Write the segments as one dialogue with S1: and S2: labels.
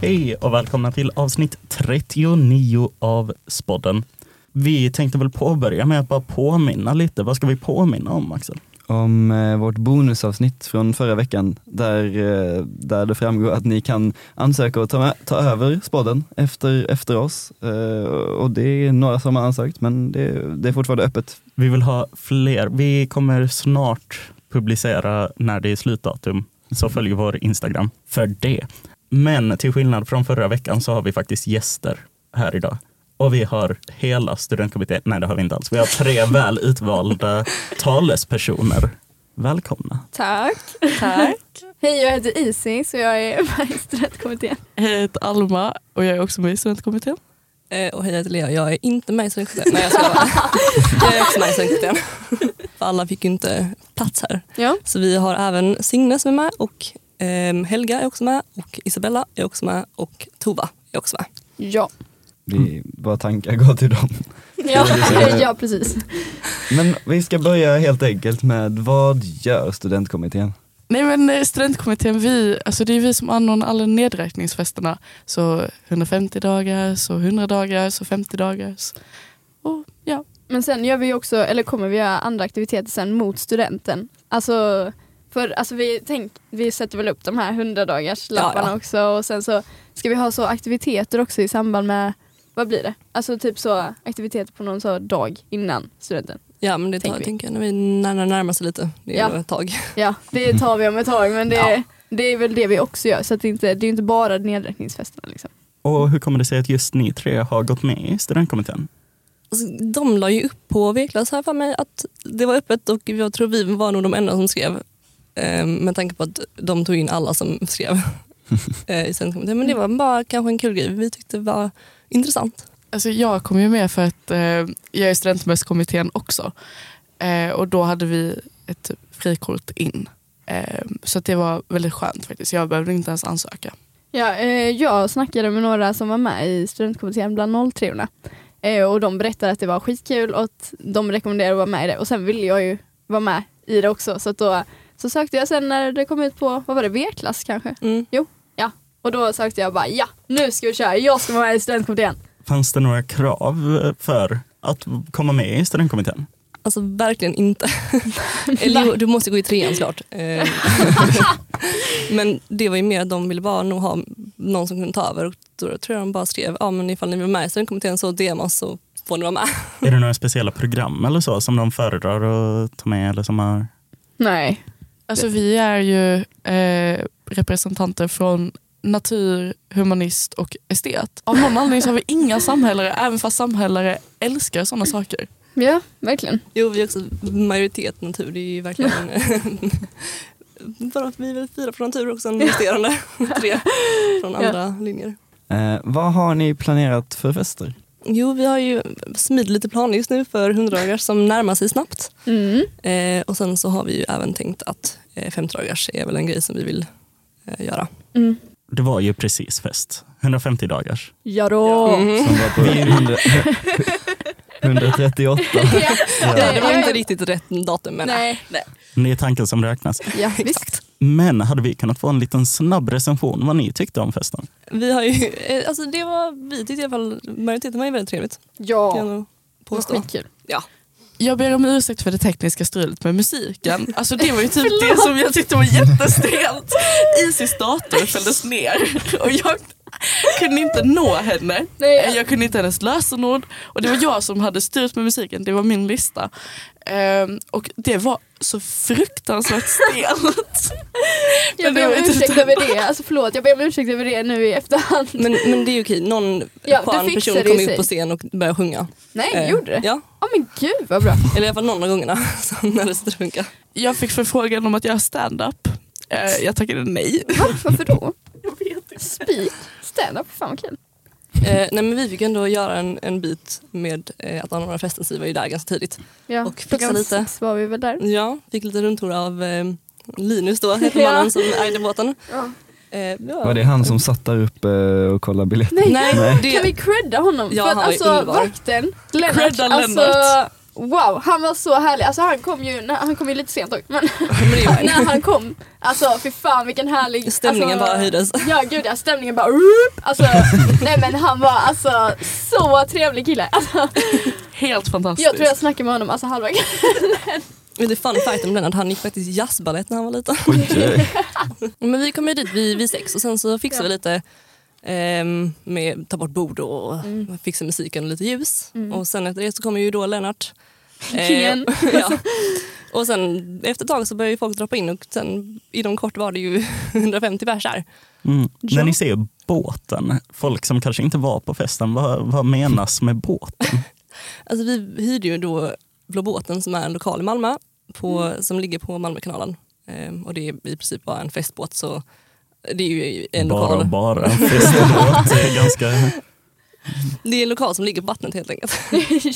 S1: Hej och välkomna till avsnitt 39 av Spodden. Vi tänkte väl påbörja med att bara påminna lite. Vad ska vi påminna om Axel?
S2: om eh, vårt bonusavsnitt från förra veckan där, eh, där det framgår att ni kan ansöka och ta, med, ta över spodden efter, efter oss. Eh, och det är några som har ansökt men det, det är fortfarande öppet.
S1: Vi vill ha fler. Vi kommer snart publicera när det är slutdatum. Så följ vår Instagram för det. Men till skillnad från förra veckan så har vi faktiskt gäster här idag. Och vi har hela studentkommittén. Nej, det har vi inte alls. Vi har tre väl utvalda talespersoner. Välkomna.
S3: Tack.
S4: Tack.
S3: Hej, jag heter Isis och jag är med i studentkommittén.
S4: Jag heter Alma och jag är också med i studentkommittén.
S5: Eh, och hej, jag heter Lea. Jag är inte med i Svenskkommittén. Nej, jag ska vara. Jag är också med i Svenskkommittén. För Alla fick ju inte plats här.
S3: Ja.
S5: Så vi har även Signe som är med och ehm, Helga är också med och Isabella är också med och Tova är också med.
S3: Ja.
S2: Vi, våra tankar går till dem.
S3: Ja,
S2: precis.
S3: ja precis.
S2: Men vi ska börja helt enkelt med vad gör studentkommittén?
S4: Nej men eh, studentkommittén, vi, alltså det är vi som anordnar alla nedräkningsfesterna. Så 150 dagar, så 100 dagar, så 50 dagar. Och ja,
S3: Men sen gör vi ju också, eller kommer vi göra andra aktiviteter sen mot studenten. Alltså, för, alltså vi, tänk, vi sätter väl upp de här 100 dagars lapparna
S5: Ja, ja.
S3: också och sen så ska vi ha så aktiviteter också i samband med, vad blir det? Alltså typ så aktiviteter på någon så dag innan studenten.
S5: Ja, men det tar,
S3: Tänker vi.
S5: tänker jag när vi närmar, närmar sig lite. Det är
S3: Ja.
S5: ja. ett tag.
S3: Ja, det tar vi om ett tag men det,
S5: Ja.
S3: det är väl det vi också gör så att det, inte, det är inte bara nedräkningsfesterna liksom.
S1: Och hur kommer det sig att just ni tre har gått med i studentkommittén?
S5: Alltså, de la ju upp på Veklas här för mig att det var öppet och jag tror vi var nog de enda som skrev. Eh, med tanke på att de tog in alla som skrev eh, i Svenskkommittén. Men det var bara kanske en kul grej. Vi tyckte det var intressant.
S4: Alltså jag kom ju med för att eh, jag är i studentmässkommittén också. Eh, och då hade vi ett frikort in. Eh, så att det var väldigt skönt faktiskt. Jag behövde inte ens ansöka.
S3: Ja, eh, jag snackade med några som var med i studentkommittén bland 03 eh, och de berättade att det var skitkul och att de rekommenderade att vara med i det och sen ville jag ju vara med i det också så att då så sökte jag sen när det kom ut på, vad var det, V-klass kanske?
S5: Mm.
S3: Och då sökte jag bara ja, nu ska vi köra, jag ska vara med i studentkommittén.
S1: Fanns det några krav för att komma med i studentkommittén?
S5: Alltså verkligen inte. Eller jo, du måste gå i trean såklart. Eh, men det var ju mer att de ville bara nog ha någon som kunde ta över. Och då tror jag de bara skrev, ja men ifall ni vill vara med i studentkommittén så DM oss så får ni vara med.
S1: Är det några speciella program eller så som de föredrar att ta med? Eller som har...
S3: Nej.
S4: Alltså vi är ju eh, representanter från natur, humanist och estet. Av någon anledning så har vi inga samhällare, även fast samhällare älskar sådana saker.
S3: Ja, verkligen.
S5: Jo vi är också majoritet natur, det är ju verkligen... bara att vi är väl fyra från natur och sen resterande tre från
S3: Ja.
S5: andra linjer.
S2: Eh, vad har ni planerat för fester?
S5: Jo vi har ju smidit lite planer just nu för 100 dagar som närmar sig snabbt.
S3: Mm.
S5: Eh, och sen så har vi ju även tänkt att eh, 50 dagars är väl en grej som vi vill eh, göra.
S3: Mm.
S1: Det var ju precis fest. 150 dagars.
S3: Ja då.
S5: Mhm.
S2: Som var på 100, 138.
S3: Ja.
S5: Ja, det var
S3: Ja,
S5: inte
S3: ja.
S5: riktigt rätt datum men
S3: Nej.
S1: Det är tanken som räknas.
S3: Ja, visst.
S5: exakt.
S1: Men hade vi kunnat få en liten snabb recension vad ni tyckte om festen?
S5: Vi har ju, eh, alltså det var, vi tyckte i alla fall majoriteten var ju väldigt trevligt.
S3: Ja,
S5: Kan jag nog
S3: det var
S5: påstå.
S3: skitkul.
S5: Ja.
S4: Jag ber om ursäkt för det tekniska strulet med musiken. Alltså det var ju typ det som jag tyckte var jättestelt. Isis dator fälldes ner och jag kunde inte nå henne. Eh,
S3: Nej.
S4: Jag kunde inte hennes lösenord och det var jag som hade styrt med musiken, det var min lista. Ehm, och det var så fruktansvärt stelt.
S3: Jag ber om ursäkt över det, alltså förlåt, jag ber om ursäkt över det nu i efterhand.
S5: Men, men det är ju okej, någon
S3: Ja, du
S5: skön
S3: fixar
S5: person
S3: det i
S5: kom
S3: sig.
S5: ut på scen och började sjunga. Eh,
S3: Nej, gjorde det?
S5: Ja,
S3: Ja men gud vad bra.
S5: eller i alla fall någon av gångerna som när det sitter och funkar.
S4: Jag fick förfrågan om att göra stand-up. Eh, jag tackade nej.
S3: Va? Varför då? Spik, stand-up, fan vad kul.
S5: Eh, nej men vi fick ändå göra en, en bit med eh, att anordna festen så vi var ju där ganska tidigt.
S3: Ja,
S5: Och fixa
S3: klockan
S5: lite.
S3: sex var vi väl där.
S5: Ja, fick lite rundtur av eh, Linus då, heter
S3: Ja.
S5: mannen som ägde båten.
S3: Ja.
S5: Eh, ja.
S2: Var det han som satt där uppe och kollade biljetter?
S3: Nej,
S5: Nej,
S3: kan vi
S5: det,
S3: credda honom?
S5: Ja,
S3: För att
S5: han var ju
S3: alltså
S5: underbar.
S3: vakten, Lennart,
S4: Credda
S3: alltså,
S4: Lennart.
S3: Wow, han var så härlig. Alltså han kom ju, nej, han kom ju lite sent dock. Men
S5: Men det är ju-
S3: när han kom, alltså fy fan vilken härlig...
S5: Stämningen
S3: alltså,
S5: bara höjdes.
S3: Ja gud ja, stämningen bara alltså, nej men han var alltså så trevlig kille. Alltså,
S4: Helt fantastiskt.
S3: jag tror jag snackade med honom alltså halva
S5: Men det är fun fact om Lennart, han gick faktiskt jazzbalett när han var liten.
S2: Oj, oj.
S5: Men vi kom ju dit vid, vid sex och sen så fixade
S3: Ja.
S5: vi lite ehm, med ta bort bord och
S3: Mm.
S5: fixa musiken och lite ljus. Och sen efter det så kommer ju då Lennart. Eh,
S3: Igen.
S5: ja. Och sen efter ett tag så börjar ju folk droppa in och sen inom kort var det ju 150 pers här.
S1: Mm.
S5: Ja.
S1: När ni ser båten, folk som kanske inte var på festen, vad, vad menas med båten?
S5: Alltså vi hyrde ju då Blå båten som är en lokal i Malmö på, som ligger på Malmökanalen. Ehm, och det är i princip bara en festbåt så det är ju en
S1: bara
S5: lokal.
S1: och bara, festbåt. Det är ganska...
S5: Det är en lokal som ligger på vattnet helt enkelt.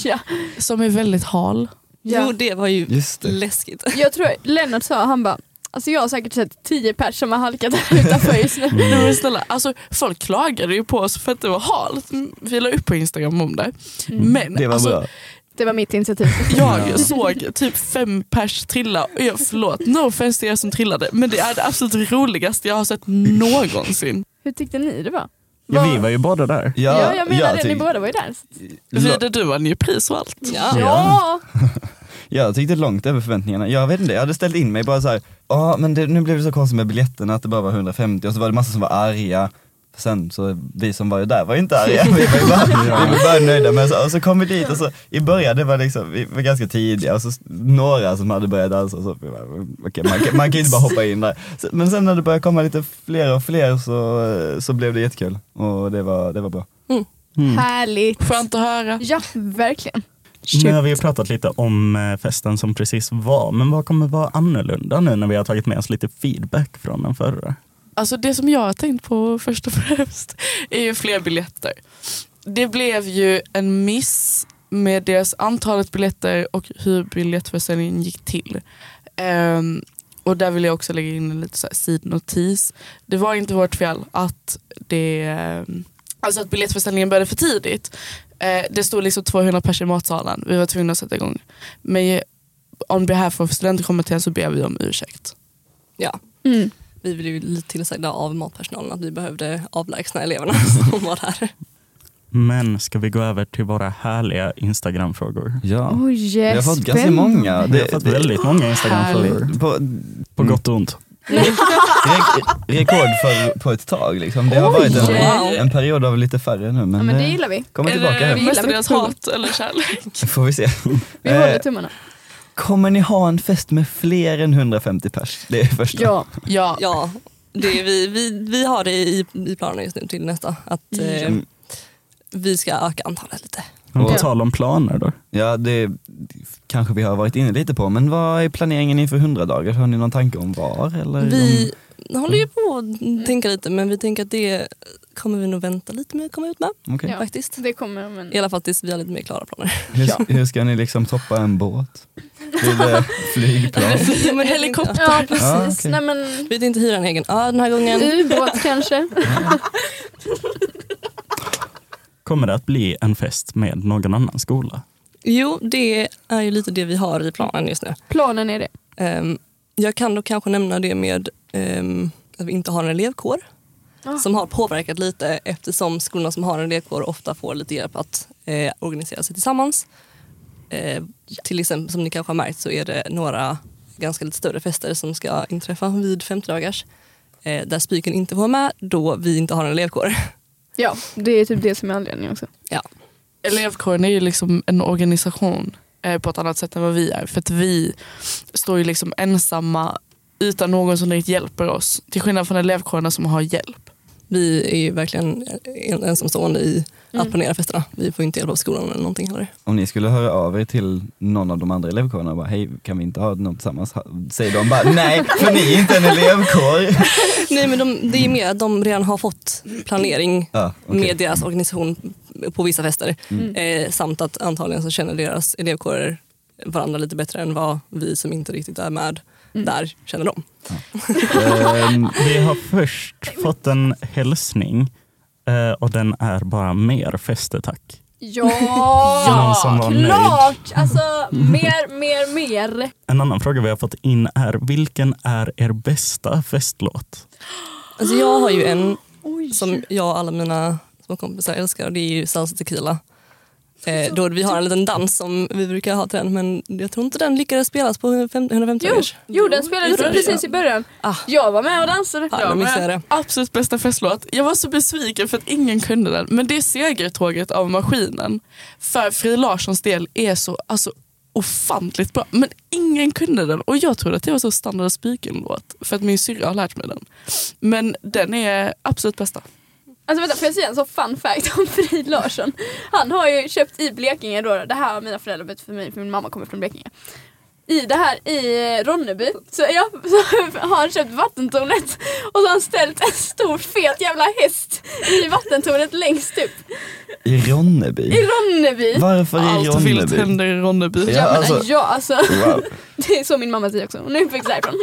S3: ja.
S4: Som är väldigt hal.
S2: Mm.
S3: Ja.
S5: Jo det var ju
S2: Just det.
S5: läskigt.
S3: Jag tror Lennart sa, han bara Alltså jag har säkert sett tio pers som har halkat här utanför just
S2: Mm.
S3: nu.
S4: Nej,
S1: Mm.
S4: men snälla, alltså, folk klagade ju på oss för att det var halt. Mm, Vi la upp på Instagram om det. Men
S2: Det var
S4: alltså,
S2: bra.
S3: Det var mitt initiativ.
S4: jag såg typ fem pers trilla. Och jag, förlåt, no offense till er som trillade. Men det är det absolut roligaste jag har sett någonsin.
S3: Hur tyckte ni det var?
S1: Ja, vi var ju båda där.
S3: Ja, jag menar det, ni
S2: tyck-
S3: båda var ju där.
S2: la-
S4: Vida, du vann ju pris och allt.
S5: Ja.
S3: Ja!
S2: Jag tyckte långt över förväntningarna. Jag vet inte, jag hade ställt in mig bara så här. ja men det, nu blev det så konstigt med biljetterna att det bara var 150 och så var det massa som var arga. Sen så vi som var ju där var ju inte arga, vi var ju bara, vi var bara nöjda med så, och så kom vi dit och så i början det var liksom, vi var ganska tidiga och så s- några som hade börjat dansa och så, vi bara, okej, man, kan- man kan ju inte bara hoppa in där. Så, men sen när det började komma lite fler och fler så, eh, så blev det jättekul och det var, det var bra.
S1: Mm.
S3: Härligt.
S4: Skönt att höra.
S3: Ja, verkligen.
S1: Nu har vi ju pratat lite om eh, festen som precis var, men vad kommer vara annorlunda nu när vi har tagit med oss lite feedback från den förra?
S4: Alltså det som jag har tänkt på först och främst är ju fler biljetter. Det blev ju en miss med deras antalet biljetter och hur biljettförsäljningen gick till. Ehm, och där vill jag också lägga in en liten så här sidnotis. Det var inte vårt fel att, det, ehm, alltså att biljettförsäljningen började för tidigt. Eh, det stod liksom 200 personer i matsalen. Vi var tvungna att sätta igång. Men eh, on behalf of studentkommittén så ber vi om ursäkt.
S5: Ja.
S3: Mm.
S5: Vi blev ju lite tillsagda av matpersonalen att vi behövde avlägsna eleverna som var där.
S1: Men ska vi gå över till våra härliga Instagram-frågor?
S2: Ja,
S3: Oj,
S2: vi har fått ganska många.
S1: Vi har fått väldigt många Instagram-frågor.
S2: på,
S1: På gott och ont.
S2: Re- rekord för, på ett tag liksom. Det har
S3: Oj.
S2: varit
S5: Wow.
S2: en, en period av lite färre nu men,
S3: Ja, men det
S2: eh,
S3: gillar vi.
S2: kommer tillbaka.
S4: eller
S2: här.
S3: vi-
S4: mestadels hat eller kärlek.
S2: Får vi se.
S3: Vi
S2: Eh,
S3: håller tummarna.
S2: kommer ni ha en fest med fler än 150 pers? Det är första.
S3: Ja.
S4: Ja.
S5: Ja, det är vi, vi, vi har det i, i planen just nu till nästa. Att eh,
S2: Mm.
S5: vi ska öka antalet lite.
S1: Men på
S2: Ja.
S1: tal om planer då.
S2: Ja, det kanske vi har varit inne lite på, men vad är planeringen inför 100 dagar? Har ni någon tanke om var? Eller
S5: Vi håller ju på att tänka lite men vi tänker att det kommer vi nog vänta lite med att komma ut med.
S2: om, Okej.
S3: Ja.
S5: Faktiskt.
S3: Det kommer om en...
S5: I alla fall tills vi har lite mer klara planer.
S2: hur, hur ska ni liksom toppa en båt? Blir det flygplan?
S5: Ja, men helikopter.
S3: Ja, precis.
S2: Ja, okej.
S3: Nej men,
S5: Vi vill inte hyra en egen ö den här gången.
S3: ubåt kanske.
S1: Kommer det att bli en fest med någon annan skola?
S5: Jo, det är ju lite det vi har i planen just nu.
S3: Planen är det.
S5: Ehm, jag kan då kanske nämna det med ehm, att vi inte har en elevkår.
S3: Ah.
S5: Som har påverkat lite eftersom skolorna som har en elevkår ofta får lite hjälp att eh, organisera sig tillsammans. Eh, till exempel som ni kanske har märkt så är det några ganska lite större fester som ska inträffa vid 50 dagars. Eh, där Spiken inte får vara med då vi inte har en elevkår.
S3: Ja, det är typ det som är anledningen också.
S5: ja.
S4: Elevkåren är ju liksom en organisation eh, på ett annat sätt än vad vi är. För att vi står ju liksom ensamma utan någon som riktigt hjälper oss. Till skillnad från elevkårerna som har hjälp.
S5: Vi är ju verkligen en- ensamstående i att planera festerna. Vi får ju inte hjälp av skolan eller någonting heller.
S2: Om ni skulle höra av er till någon av de andra elevkårerna och bara hej, kan vi inte ha något tillsammans? Ha- Säger de bara nej, för ni är inte en elevkår.
S5: Nej men de, det är ju mer att de redan har fått planering
S2: Ja, okej.
S5: med deras organisation på vissa fester.
S3: Mm.
S5: Eh, samt att antagligen så känner deras elevkårer varandra lite bättre än vad vi som inte riktigt är med
S3: Mm.
S5: där känner dem.
S2: Ehm,
S1: Vi har först fått en hälsning eh, och den är bara mer fester tack.
S3: Ja,
S1: Någon som var nöjd.
S3: klart! Alltså mer, mer, mer.
S1: En annan fråga vi har fått in är, vilken är er bästa festlåt?
S5: Alltså jag har ju en
S3: Oj.
S5: som jag och alla mina små kompisar älskar och det är ju salsa tequila. Eh, då vi har en liten dans som vi brukar ha till den men jag tror inte den lyckades spelas på 150
S3: Jo,
S5: års.
S3: jo, den spelades
S5: Gjorde den?
S3: precis i början.
S5: Ah.
S3: Jag var med och dansade.
S5: Ja, då missade jag det.
S4: Absolut bästa festlåt. Jag var så besviken för att ingen kunde den. Men det är segertåget av maskinen. För Fri Larssons del är så alltså, ofantligt bra. Men ingen kunde den. Och jag trodde att det var så standard och spiken-låt. För att min syrra har lärt mig den. Men den är absolut bästa.
S3: Alltså vänta, får jag säga en sån fun fact om Frid Larsson? Han har ju köpt i Blekinge då, det här har mina föräldrar berättat för mig för min mamma kommer från Blekinge. I det här i eh, Ronneby så, jag, så har han köpt vattentornet och så har han ställt en stor fet jävla häst i vattentornet längst upp.
S2: I Ronneby?
S3: I Ronneby!
S2: Varför i
S4: Allt vilt
S2: Ronneby?
S4: händer i Ronneby.
S2: Ja,
S3: Ja, men,
S2: alltså-
S3: ja, alltså,
S2: Wow.
S3: det är så min mamma säger också, hon är uppväxt därifrån.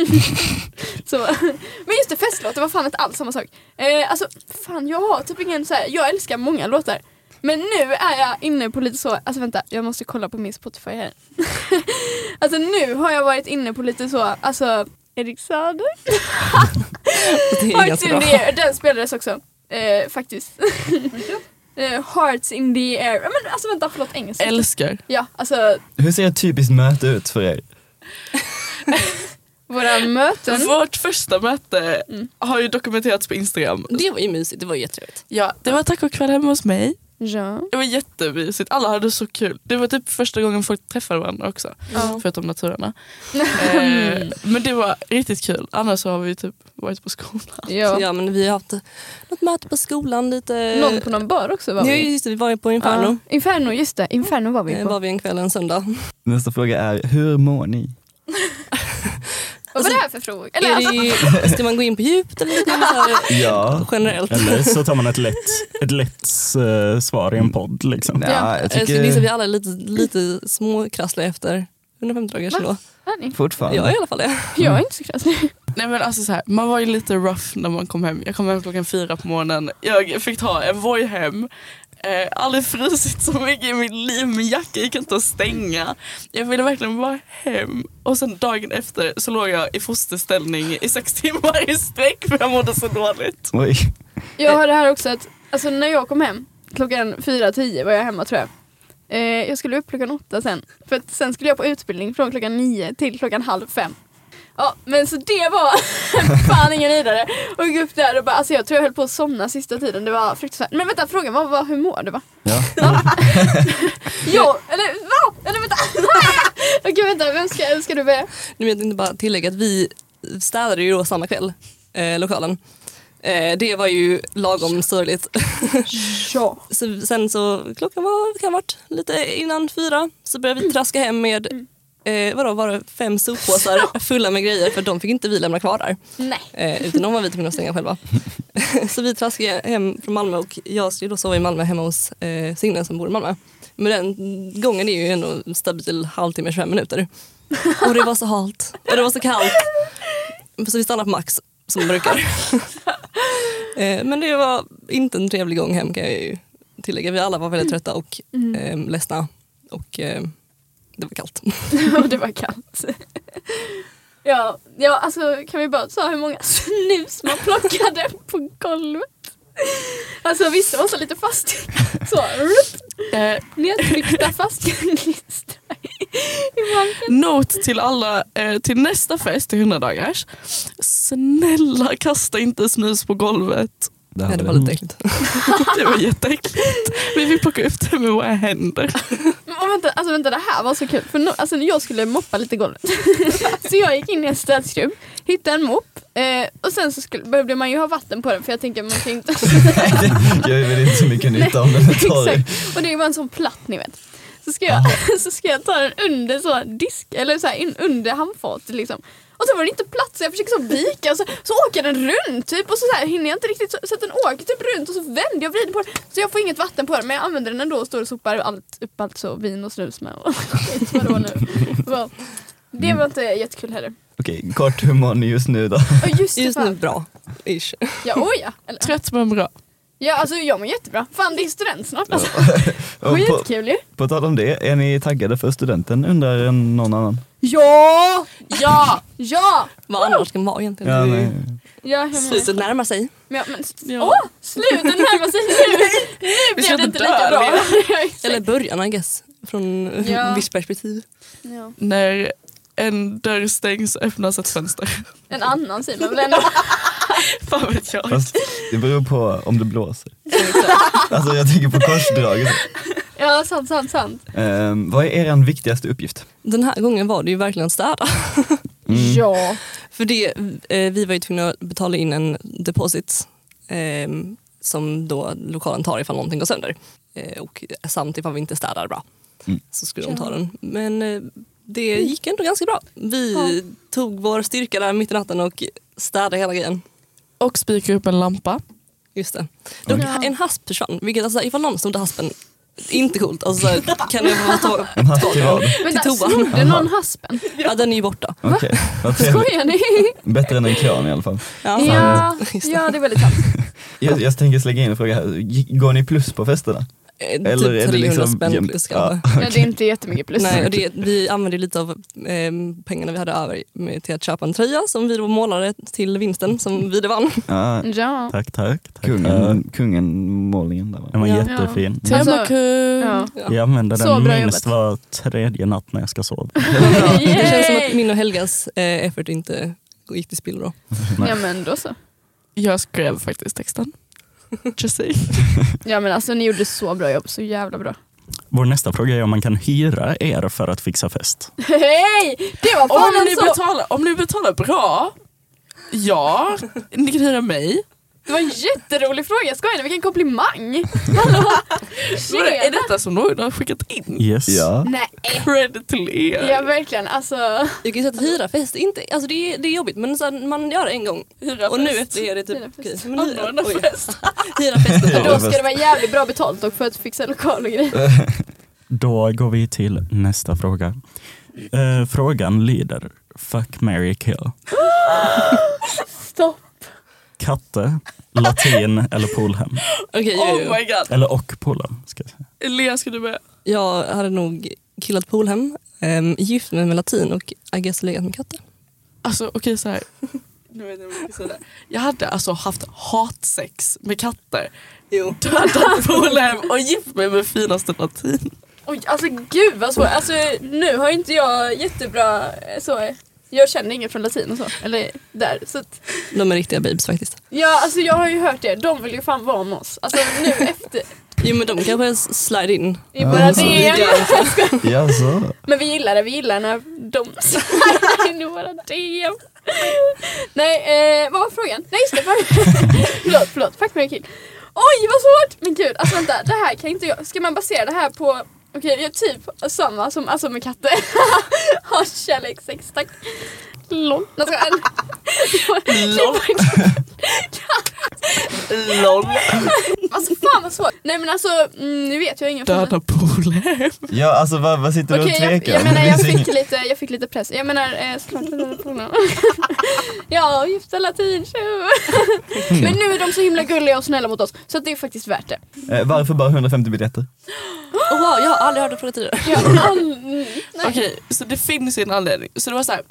S3: så, men just det, festlåt, det var fan inte alls samma sak. Eh, alltså, fan jag har typ ingen så här, jag älskar många låtar. Men nu är jag inne på lite så, alltså vänta, jag måste kolla på min Spotify här. alltså nu har jag varit inne på lite så, alltså Erik Saade.
S5: Det är
S3: Hearts
S5: ganska
S3: in
S5: bra.
S3: the air, den spelades också. Eh, faktiskt. eh, Hearts in the air, Ja, men alltså vänta förlåt engelska.
S4: Älskar.
S3: ja, alltså
S2: Hur ser ett typiskt möte ut för er?
S3: våra
S5: Alltså,
S3: möten.
S4: Vårt första möte har ju dokumenterats på Instagram.
S5: Det var ju mysigt, det var ju jättetrevligt.
S4: Ja, det var tacokväll hemma hos mig.
S3: Ja.
S4: Det var jättemysigt. Alla hade så kul. Det var typ första gången folk träffade varandra också.
S3: Ja.
S4: Förutom naturerna. eh, men det var riktigt kul. Annars så har vi typ varit på skolan.
S5: Ja.
S3: Ja.
S5: men vi har haft något möte på skolan lite.
S3: Någon på någon bar också var
S5: Ja,
S3: vi.
S5: just det, vi var ju på Eh, Inferno.
S3: Ja. Inferno, just det. Inferno var vi
S5: Eh,
S3: på.
S5: Var vi en kväll en söndag.
S2: Nästa fråga är, hur mår ni?
S3: Vad var det här för fråga? Eller
S5: Är det,
S3: alltså,
S5: ju- ska man gå in på djupet eller ska man så här,
S2: Ja.
S5: generellt?
S1: Eller så tar man ett lätt, ett lätt eh, svar i en podd. Liksom.
S2: Ja, jag
S5: Jag skulle gissa att Eh, vi
S2: tycker
S5: alla är lite, lite småkrassliga efter 150 dagar sedan då.
S3: är ni?
S2: fortfarande.
S5: Jag är i alla fall det.
S3: jag är inte så krasslig.
S4: Nej men alltså så här, man var ju lite rough när man kom hem. Jag kom hem klockan fyra på morgonen. Jag fick ta en Voi hem. Eh, aldrig frusit så mycket i mitt liv. Min jacka gick inte att stänga. Jag ville verkligen vara hem. Och sen dagen efter så låg jag i fosterställning i sex timmar i sträck för jag mådde så dåligt.
S2: Oj.
S3: Jag har det här också att alltså, när jag kom hem klockan 4.10 var jag hemma tror jag. Eh, jag skulle upp klockan åtta sen. För att sen skulle jag på utbildning från klockan nio till klockan halv fem. Ja men så det var fan ingen vidare. Och gick upp där och bara, alltså jag tror jag höll på att somna sista tiden. Det var fruktansvärt. Men vänta frågan var, var hur mår du va?
S2: Ja.
S3: Ja, eller va? Eller vänta! Okej vänta, vem ska, ska du börja?
S5: Nu vill jag inte bara tillägga att vi städade ju då samma kväll, eh, lokalen. Eh, det var ju lagom sorgligt.
S3: Ja.
S5: Så, sen så, klockan var, kan ha varit lite innan fyra, så började vi traska hem med Eh, vadå, var det fem soppåsar fulla med grejer för de fick inte vi lämna kvar där.
S3: Nej.
S5: Eh, utan de var vi tvungna att stänga själva. så vi traskade hem från Malmö och jag skulle då sova i Malmö hemma hos eh, Signe som bor i Malmö. Men den gången är ju ändå en stabil halvtimme, 25 minuter. Och det var så halt och det var så kallt. Så vi stannade på Max som brukar. eh, men det var inte en trevlig gång hem kan jag ju tillägga. Vi alla var väldigt trötta och eh, ledsna. Och eh, det var kallt.
S3: Och det var kallt. Ja, ja, alltså kan vi bara ta hur många snus man plockade på golvet? Alltså vissa var så lite fast, så rup,
S4: Eh,
S3: nedtryckta fastgnistra i marken.
S4: Note till alla, eh, till nästa fest, till 100 dagars. Snälla kasta inte snus på golvet.
S5: Ja, det var lite äckligt.
S4: Det var jätteäckligt. Vi fick plocka upp det med våra händer.
S3: Och vänta, alltså vänta det här var så kul, för no, alltså, när jag skulle moppa lite golvet. så jag gick in i en städskrubb, hittade en mopp eh, och sen så skulle, behövde man ju ha vatten på den för jag tänker man kan ju inte
S2: Jag är väl inte så mycket nytta av den här torg.
S3: Exakt. Och det var en sån platt ni vet. Så ska jag, så ska jag ta den under så disk, eller så här, in, under handfatet liksom. Och så var den inte platt så jag försöker så vika och så, så åker den runt typ och så, så här, hinner jag inte riktigt så, så att den åker typ runt och så vänder jag och vrider på den. Så jag får inget vatten på den men jag använder den ändå och står och sopar allt, upp allt så vin och snus med och skit vad det var nu. Så,
S2: Mm.
S3: det var inte jättekul heller.
S2: Okej, kort hur mår ni just nu då?
S3: Och just, det,
S5: Just nu
S3: fan.
S5: bra. Ish.
S3: Ja, oh ja. Eller,
S4: Trött men bra.
S3: Ja, alltså jag mår jättebra. Fan, det är student snart alltså.
S2: Och på,
S3: Skitkul ju.
S2: på tal om det, är ni taggade för studenten undrar en- någon annan?
S3: Ja! Ja! Ja!
S5: Vad annars ska man vara egentligen?
S3: Mm.
S2: Ja, nej.
S3: Ja, jag menar-
S5: Slutet närmar sig.
S3: Men, men, s-
S4: Ja.
S3: Åh! Slutet närmar sig nu! Nu blev
S4: slutar
S3: det inte
S4: dö,
S3: lika bra.
S5: Eller början I guess. Från
S3: Ja.
S5: ja. visst perspektiv.
S3: Ja.
S4: När en dörr stängs öppnas ett fönster.
S3: En annan säger man väl ändå.
S4: Fan vet jag.
S2: Fast det beror på om det blåser. Alltså jag tänker på korsdraget.
S3: Ja, sant, sant, sant.
S2: Ehm, vad är er viktigaste uppgift?
S5: Den här gången var det ju verkligen att städa. Mm.
S3: Ja.
S5: För det, eh, vi var ju tvungna att betala in en deposit ehm, som då lokalen tar ifall någonting går sönder. Eh, och samt ifall vi inte städar bra.
S2: Mm.
S5: Så skulle de ta den. Men eh, det gick ändå ganska bra. Vi tog vår styrka där mitt i natten och städade hela grejen.
S4: Och spikar upp en lampa.
S5: Just det. Dock,
S3: Ja.
S5: En hasp försvann, vilket alltså, ifall någon snodde haspen, inte coolt. Alltså, så här, kan det vara tag-
S2: En hatt till vad?
S3: Vänta,
S5: Till toan.
S3: snodde någon haspen?
S5: Ja, den är ju borta.
S2: Okej, vad trevligt.
S3: Skojar ni?
S2: Bättre än en kran i alla fall.
S5: Ja,
S3: Ja,
S5: Just det.
S3: ja, det är väldigt sant.
S2: Jag, jag tänker slänga in en fråga här. G- Går ni plus på festerna?
S5: Eh,
S2: Eller är
S5: typ
S2: det
S5: 300
S2: liksom
S5: spänn
S2: jämnt?
S5: plus
S2: Ja.
S5: kanske.
S3: Ja, det är inte jättemycket plus.
S5: Nej, och det, vi använde ju lite av eh, pengarna vi hade över med, till att köpa en tröja som vi då målade till vinsten som vi det vann.
S2: Ja,
S3: Ja.
S1: Tack, tack. tack.
S2: kungen, kungen målningen där
S1: Den
S2: va?
S1: var
S5: Ja.
S1: jättefin.
S3: Ja. Alltså,
S4: Temakung.
S3: ja.
S1: Jag använder
S3: Så
S1: den
S3: bra
S1: minst var tredje natt när jag ska sova.
S5: Det känns som
S3: Yay!
S5: att min och Helgas eh, effort inte gick till spillo då.
S3: Ja men då
S5: Mm.
S3: så.
S4: Jag skrev faktiskt texten. Just saying.
S3: Ja men alltså ni gjorde så bra jobb, så jävla bra.
S1: Vår nästa fråga är om man kan hyra er för att fixa fest.
S3: Hej! Det var
S4: Om
S3: fan
S4: ni,
S3: alltså!
S4: betalar, om ni betalar bra, ja, ni kan hyra mig.
S3: Det var en jätterolig fråga, skojar ni? Vilken komplimang! Hallå!
S4: Vadå, Är
S3: Tjena!
S4: detta som någon har skickat in?
S1: Yes.
S2: Ja.
S3: Nej,
S4: Credit till er.
S3: ja verkligen alltså.
S5: Du kan ju säga att hyra fest, inte, alltså det, är, det är jobbigt men så här, man gör det en gång
S4: Hyra
S5: och nu
S4: fest.
S5: efter det är det typ
S3: Hyra fest.
S5: okej, men hyra,
S4: Anordna
S5: oj,
S4: fest.
S5: hyra fest.
S3: Men då
S2: Ja,
S3: ska
S2: fast-
S3: det vara jävligt bra betalt och för att fixa lokal och grejer.
S1: Då går vi till nästa fråga. Eh, frågan lyder, fuck, marry, kill.
S3: Stopp!
S1: Katte, latin eller polhem?
S5: Okej, jo, jo.
S4: Oh my god.
S1: Eller och polhem, ska jag säga.
S4: Lea ska du börja?
S5: Jag hade nog killat Polhem, um, gift mig med latin och I guess legat med katter.
S4: Alltså okej så här. Nu vet jag vad jag ska säga. där. Jag hade alltså haft hatsex med katter.
S5: Jo.
S4: Dödat polhem och gift mig med finaste latin.
S3: Oj, alltså gud vad svårt. Alltså, nu har ju inte jag jättebra eh, så. eh, Jag känner ingen från latin och så. Eller där. Så att,
S5: De är riktiga babes faktiskt.
S3: ja, alltså jag har ju hört det. De vill ju fan vara med oss. Alltså nu efter.
S5: Jo men de kanske slide in.
S3: Det är bara
S2: Alltså.
S3: det.
S2: Ja, så.
S3: Men vi gillar det. Vi gillar när de säger nu bara det. Nej, eh, vad var frågan? Nej, just det. för- förlåt, förlåt. Fuck, marry, kill. Oj, vad svårt! Men gud, alltså vänta. Det här kan inte jag... Ska man basera det här på... Okej, jag är typ samma som alltså med katter. Ha kärlek, sex, tack. Lol. Jag skojar.
S4: Lol. Lol.
S3: Alltså fan vad svårt. Nej men alltså, mm, nu vet jag ingen
S4: Döda polhem.
S2: Ja, alltså vad, vad sitter du
S3: Okej,
S2: och
S3: jag,
S2: tvekar?
S3: jag menar jag
S2: Det finns
S3: fick, lite, jag fick lite press. Jag menar eh, såklart att jag på honom. Ja, gifta latin tjo. Men nu är de så himla gulliga och snälla mot oss så att det är faktiskt värt det.
S2: ingen- Eh, Varför bara 150 biljetter?
S5: Oh, wow, jag har aldrig hört det förut tidigare.
S3: Ja, all, mm, nej.
S4: Okej, så det finns ju en anledning. Så det var så här.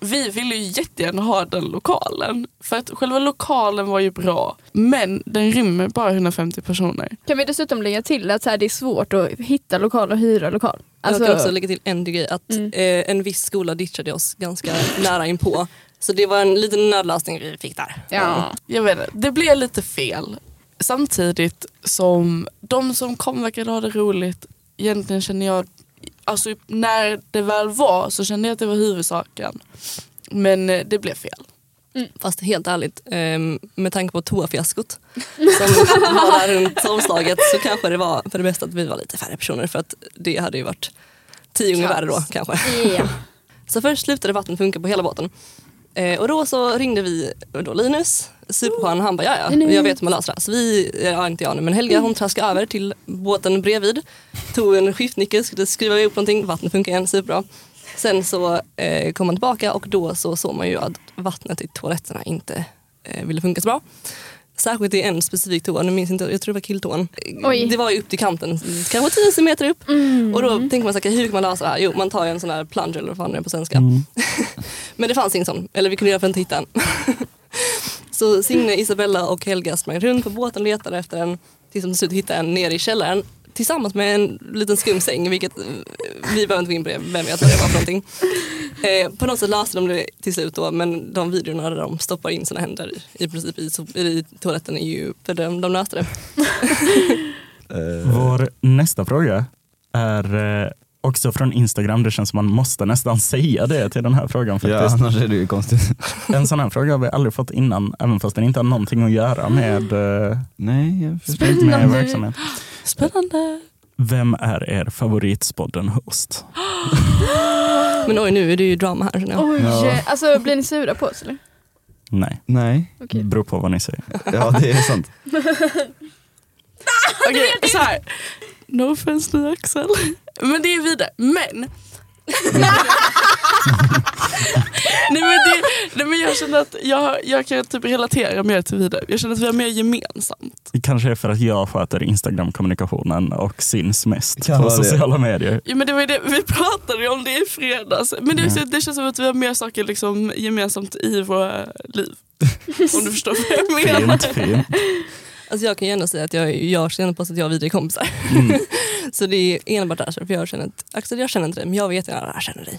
S4: Vi ville ju jättegärna ha den lokalen. För att själva lokalen var ju bra. Men den rymmer bara 150 personer.
S3: Kan vi dessutom lägga till att så här, det är svårt att hitta lokal och hyra lokal? Alltså,
S5: jag kan också lägga till en grej att
S3: Mm.
S5: eh, en viss skola ditchade oss ganska nära inpå. Så det var en liten nödlösning vi fick där.
S3: ja.
S4: Jag vet inte, det blev lite fel. Samtidigt som de som kom verkade ha det roligt. Egentligen känner jag, alltså när det väl var så kände jag att det var huvudsaken. Men eh, det blev fel.
S5: Fast helt ärligt, ehm, med tanke på toafiaskot som var där runt tolvslaget så kanske det var för det bästa att vi var lite färre personer för att det hade ju varit tio gånger
S4: Kaos.
S5: värre då kanske.
S3: Ja.
S5: Så först slutade vattnet funka på hela båten. Eh, och då så ringde vi då Linus, superskön, han bara ja ja,
S3: Linus."
S5: jag vet hur man löser det här. Så vi, eh, ja inte jag nu, men Helga hon traskade över till båten bredvid, tog en skiftnyckel, skulle skruva ihop någonting, vattnet funkar igen, superbra. Sen så eh, kom man tillbaka och då så såg man ju att vattnet i toaletterna inte eh, ville funka så bra. Särskilt i en specifik toa, nu minns jag inte, jag tror det var killtoan.
S3: Oj.
S5: Det var ju upp till kanten, kanske 10 centimeter upp. Och då tänker man så här, hur kan man lösa det här? Jo, man tar ju en sån här plunger eller vad fan det är på svenska. Men det fanns ingen sån, eller vi kunde i alla fall inte hitta en. så Signe, Isabella och Helga sprang runt på båten och letade efter en tills de till slut hittade en nere i källaren tillsammans med en liten skum säng, vilket eh, vi behöver inte gå in på det, vem vet vad det var för någonting. Eh, på något sätt löste de det till slut då, men de videorna där de stoppar in sina händer i, i princip i, so- i toaletten är ju, för de, de löste det.
S2: Eh,
S1: Vår nästa fråga är eh, också från Instagram. Det känns som man måste nästan säga det till den här frågan
S2: ja,
S1: faktiskt.
S2: annars är det ju konstigt.
S1: En sån här fråga har vi aldrig fått innan, även fast den inte har någonting att göra med, eh,
S2: Nej, jag förstår.
S3: Sprid
S1: med
S3: namnet.
S1: verksamhet.
S4: Spännande.
S1: Vem är er favoritspodden-host?
S5: Men oj, nu är det ju drama här känner jag.
S3: Oj,
S2: Ja.
S3: alltså blir ni sura på oss eller?
S1: Nej,
S2: Nej,
S3: Okej.
S1: beror på vad ni säger.
S2: ja det är sant.
S4: Okej, Eh, så här. No offense nu Axel. Men det är vidare. Men. nej, men det, nej men jag känner att jag, jag kan typ relatera mer till vidare. Jag känner att vi har mer gemensamt.
S1: Det Kanske är för att jag sköter Instagram-kommunikationen och syns mest
S2: Kan
S1: på
S2: vara det.
S1: sociala medier.
S4: Ja, men det var ju det, vi pratade ju om det i fredags. Men det,
S1: Mm.
S4: det känns som att vi har mer saker liksom gemensamt i våra liv. Om du förstår vad jag menar.
S1: Fint, fint.
S5: Alltså jag kan ju ändå säga att jag, jag känner på oss att jag och vidare är kompisar.
S1: Mm.
S5: Så det är enbart därför, för jag känner att Axel jag känner inte dig, men jag vet att jag känner dig.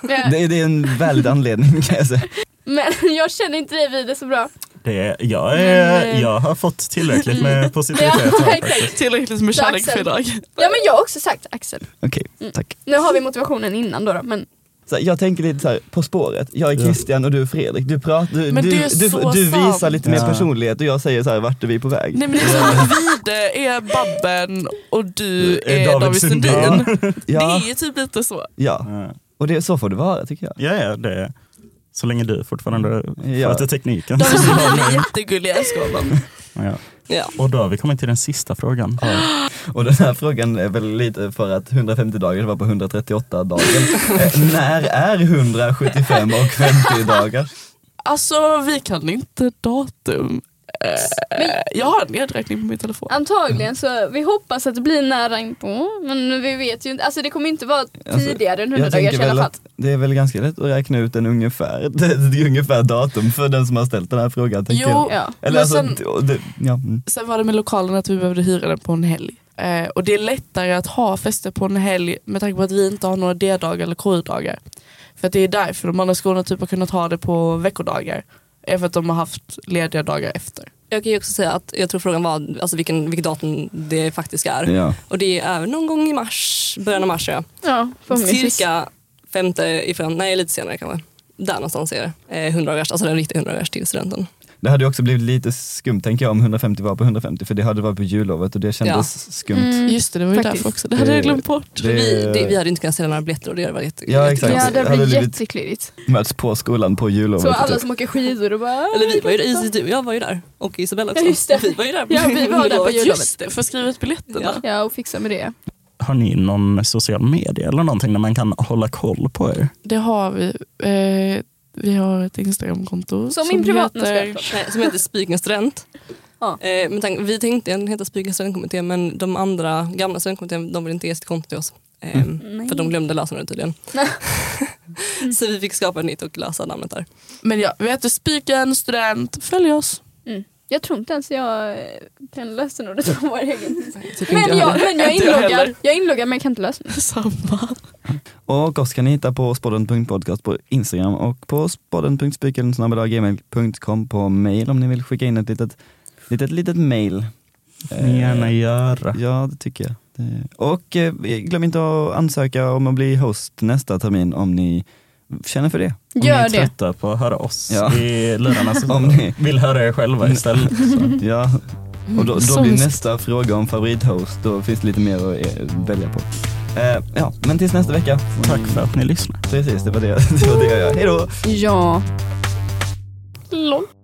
S3: Men-
S2: Det, det är en väldig anledning kan jag säga.
S3: Men jag känner inte dig vid det så bra.
S1: Det är, jag, är,
S3: Men-
S1: jag har fått tillräckligt med
S3: Ja,
S1: positivitet. här.
S3: exakt.
S4: Tillräckligt med
S3: Så
S4: kärlek
S3: Axel.
S4: för idag.
S3: Ja men jag har också sagt Axel.
S2: Okej,
S3: Mm.
S2: tack.
S3: Nu har vi motivationen innan då, då men
S2: Så här, jag tänker lite så här, På spåret, jag är Christian och du är Fredrik. Du, pratar, du,
S4: Men
S2: du,
S4: det är
S2: du,
S4: så
S2: du
S4: sant.
S2: visar lite mer
S1: Ja.
S2: personlighet och jag säger så här, vart är vi på väg?
S4: Nej men det är som att Vide är Babben och du
S1: Är
S4: är
S1: David
S4: David Sundin.
S1: Sundin.
S2: Ja,
S4: Det är ju typ lite så.
S2: ja.
S1: Ja.
S2: och det, så får det vara tycker jag.
S1: Ja, ja, det är. Så länge du fortfarande
S2: Ja.
S1: sköter tekniken.
S4: David Sundin är jättegullig, jag älskar honom.
S1: Ja.
S5: Ja.
S1: Och då har vi kommit till den sista frågan.
S2: Och den här frågan är väl lite för att 150 dagar var på 138 dagar. Eh, När är 175 och 50 dagar?
S4: Alltså vi kan inte datum. Eh, jag har en nedräkning på min telefon.
S3: antagligen så vi hoppas att det blir nära inpå. Men vi vet ju inte, alltså det kommer inte vara tidigare än 100 dagars i
S2: väl
S3: alla fall.
S2: att det är väl ganska lätt att räkna ut en ungefär, det är ungefär datum för den som har ställt den här frågan. Tänker
S4: Jo,
S2: jag.
S3: Ja.
S2: Eller
S4: men
S2: alltså,
S4: sen,
S2: det- det, ja. mm.
S4: sen var det med lokalen att vi behövde hyra den på en helg. Eh, och det är lättare att ha fester på en helg med tanke på att vi inte har några D-dagar eller KU-dagar. För att det är därför de andra skolorna typ har kunnat ha det på veckodagar. Är för att de har haft lediga dagar efter.
S5: Jag kan ju också säga att jag tror frågan var alltså vilken, vilket datum det faktiskt är.
S2: Ja.
S5: Och det är någon gång i mars, början av mars tror jag.
S3: Ja, förhoppningsvis.
S5: Cirka femte i fem, nej lite senare kanske. Där någonstans är det. Eh, 100 dagars, alltså den riktiga 100 dagars till studenten.
S2: Det hade ju också blivit lite skumt tänker jag om 150 var på 150 för det hade varit på jullovet och det kändes skumt.
S3: Mm.
S4: Just det, det var ju
S3: Faktiskt.
S4: därför också. Det hade jag glömt bort.
S5: För vi, det, vi hade inte kunnat sälja några biljetter och det hade varit jätte,
S2: Ja, exakt.
S3: Ja det
S2: Hade
S3: blir
S2: blivit-
S3: jätteklurigt.
S2: möts på skolan på jullovet.
S3: Så alla
S2: typ.
S3: som åker skidor och bara
S5: Eller vi var ju där, Isis, du och jag var ju där. Och Isabella också.
S3: Ja, just det.
S5: Vi var ju där.
S3: Ja, vi var där på jullovet.
S4: Just det, för skriva ut biljetterna.
S5: Ja.
S3: Ja och fixa med det.
S1: Har ni någon social media eller någonting där man kan hålla koll på er?
S4: Det har vi. Eh, vi har ett Instagramkonto.
S3: Som min privatnätverk då.
S5: Nej, som heter Spiken student.
S3: Ja.
S5: Eh, men tank, vi tänkte den heta Spiken studentkommitté men de andra gamla studentkommittén de ville inte ge sitt konto till oss. Eh,
S3: Mm.
S5: För de glömde lösa det tydligen. så vi fick skapa ett nytt och lösa namnet där.
S4: Men ja, vi heter Spiken student. Följ oss.
S3: Mm. Jag tror inte ens jag eh, kan lösenordet på vår egen.
S5: Typ inte
S3: Men jag, men jag är
S4: Inte jag
S3: inloggad,
S4: heller.
S3: jag är inloggad men jag kan inte lösenordet.
S4: Samma.
S2: Och oss kan ni hitta på spodden.podcast på Instagram och på spodden.spikeln.gmail.com på mail om ni vill skicka in ett litet, litet, litet mail. Eh,
S1: Får ni gärna göra.
S2: Ja, det tycker jag. Det- Och eh, glöm inte att ansöka om att bli host nästa termin om ni känner för det.
S1: Om ni
S3: Gör
S1: är
S3: det.
S1: trötta på att höra oss
S2: Ja.
S1: i lurarna så
S2: Om ni- Mm.
S1: vill höra er själva istället. Så.
S2: Ja, och då, då
S4: Som-
S2: blir nästa fråga om favorithost. Då finns det lite mer att eh, välja på. Eh, ja, men tills nästa vecka. får
S1: Tack
S2: ni-
S1: för att ni lyssnar.
S2: Precis, det var det, det, var det jag gör. Hej då!
S3: Ja. Lol.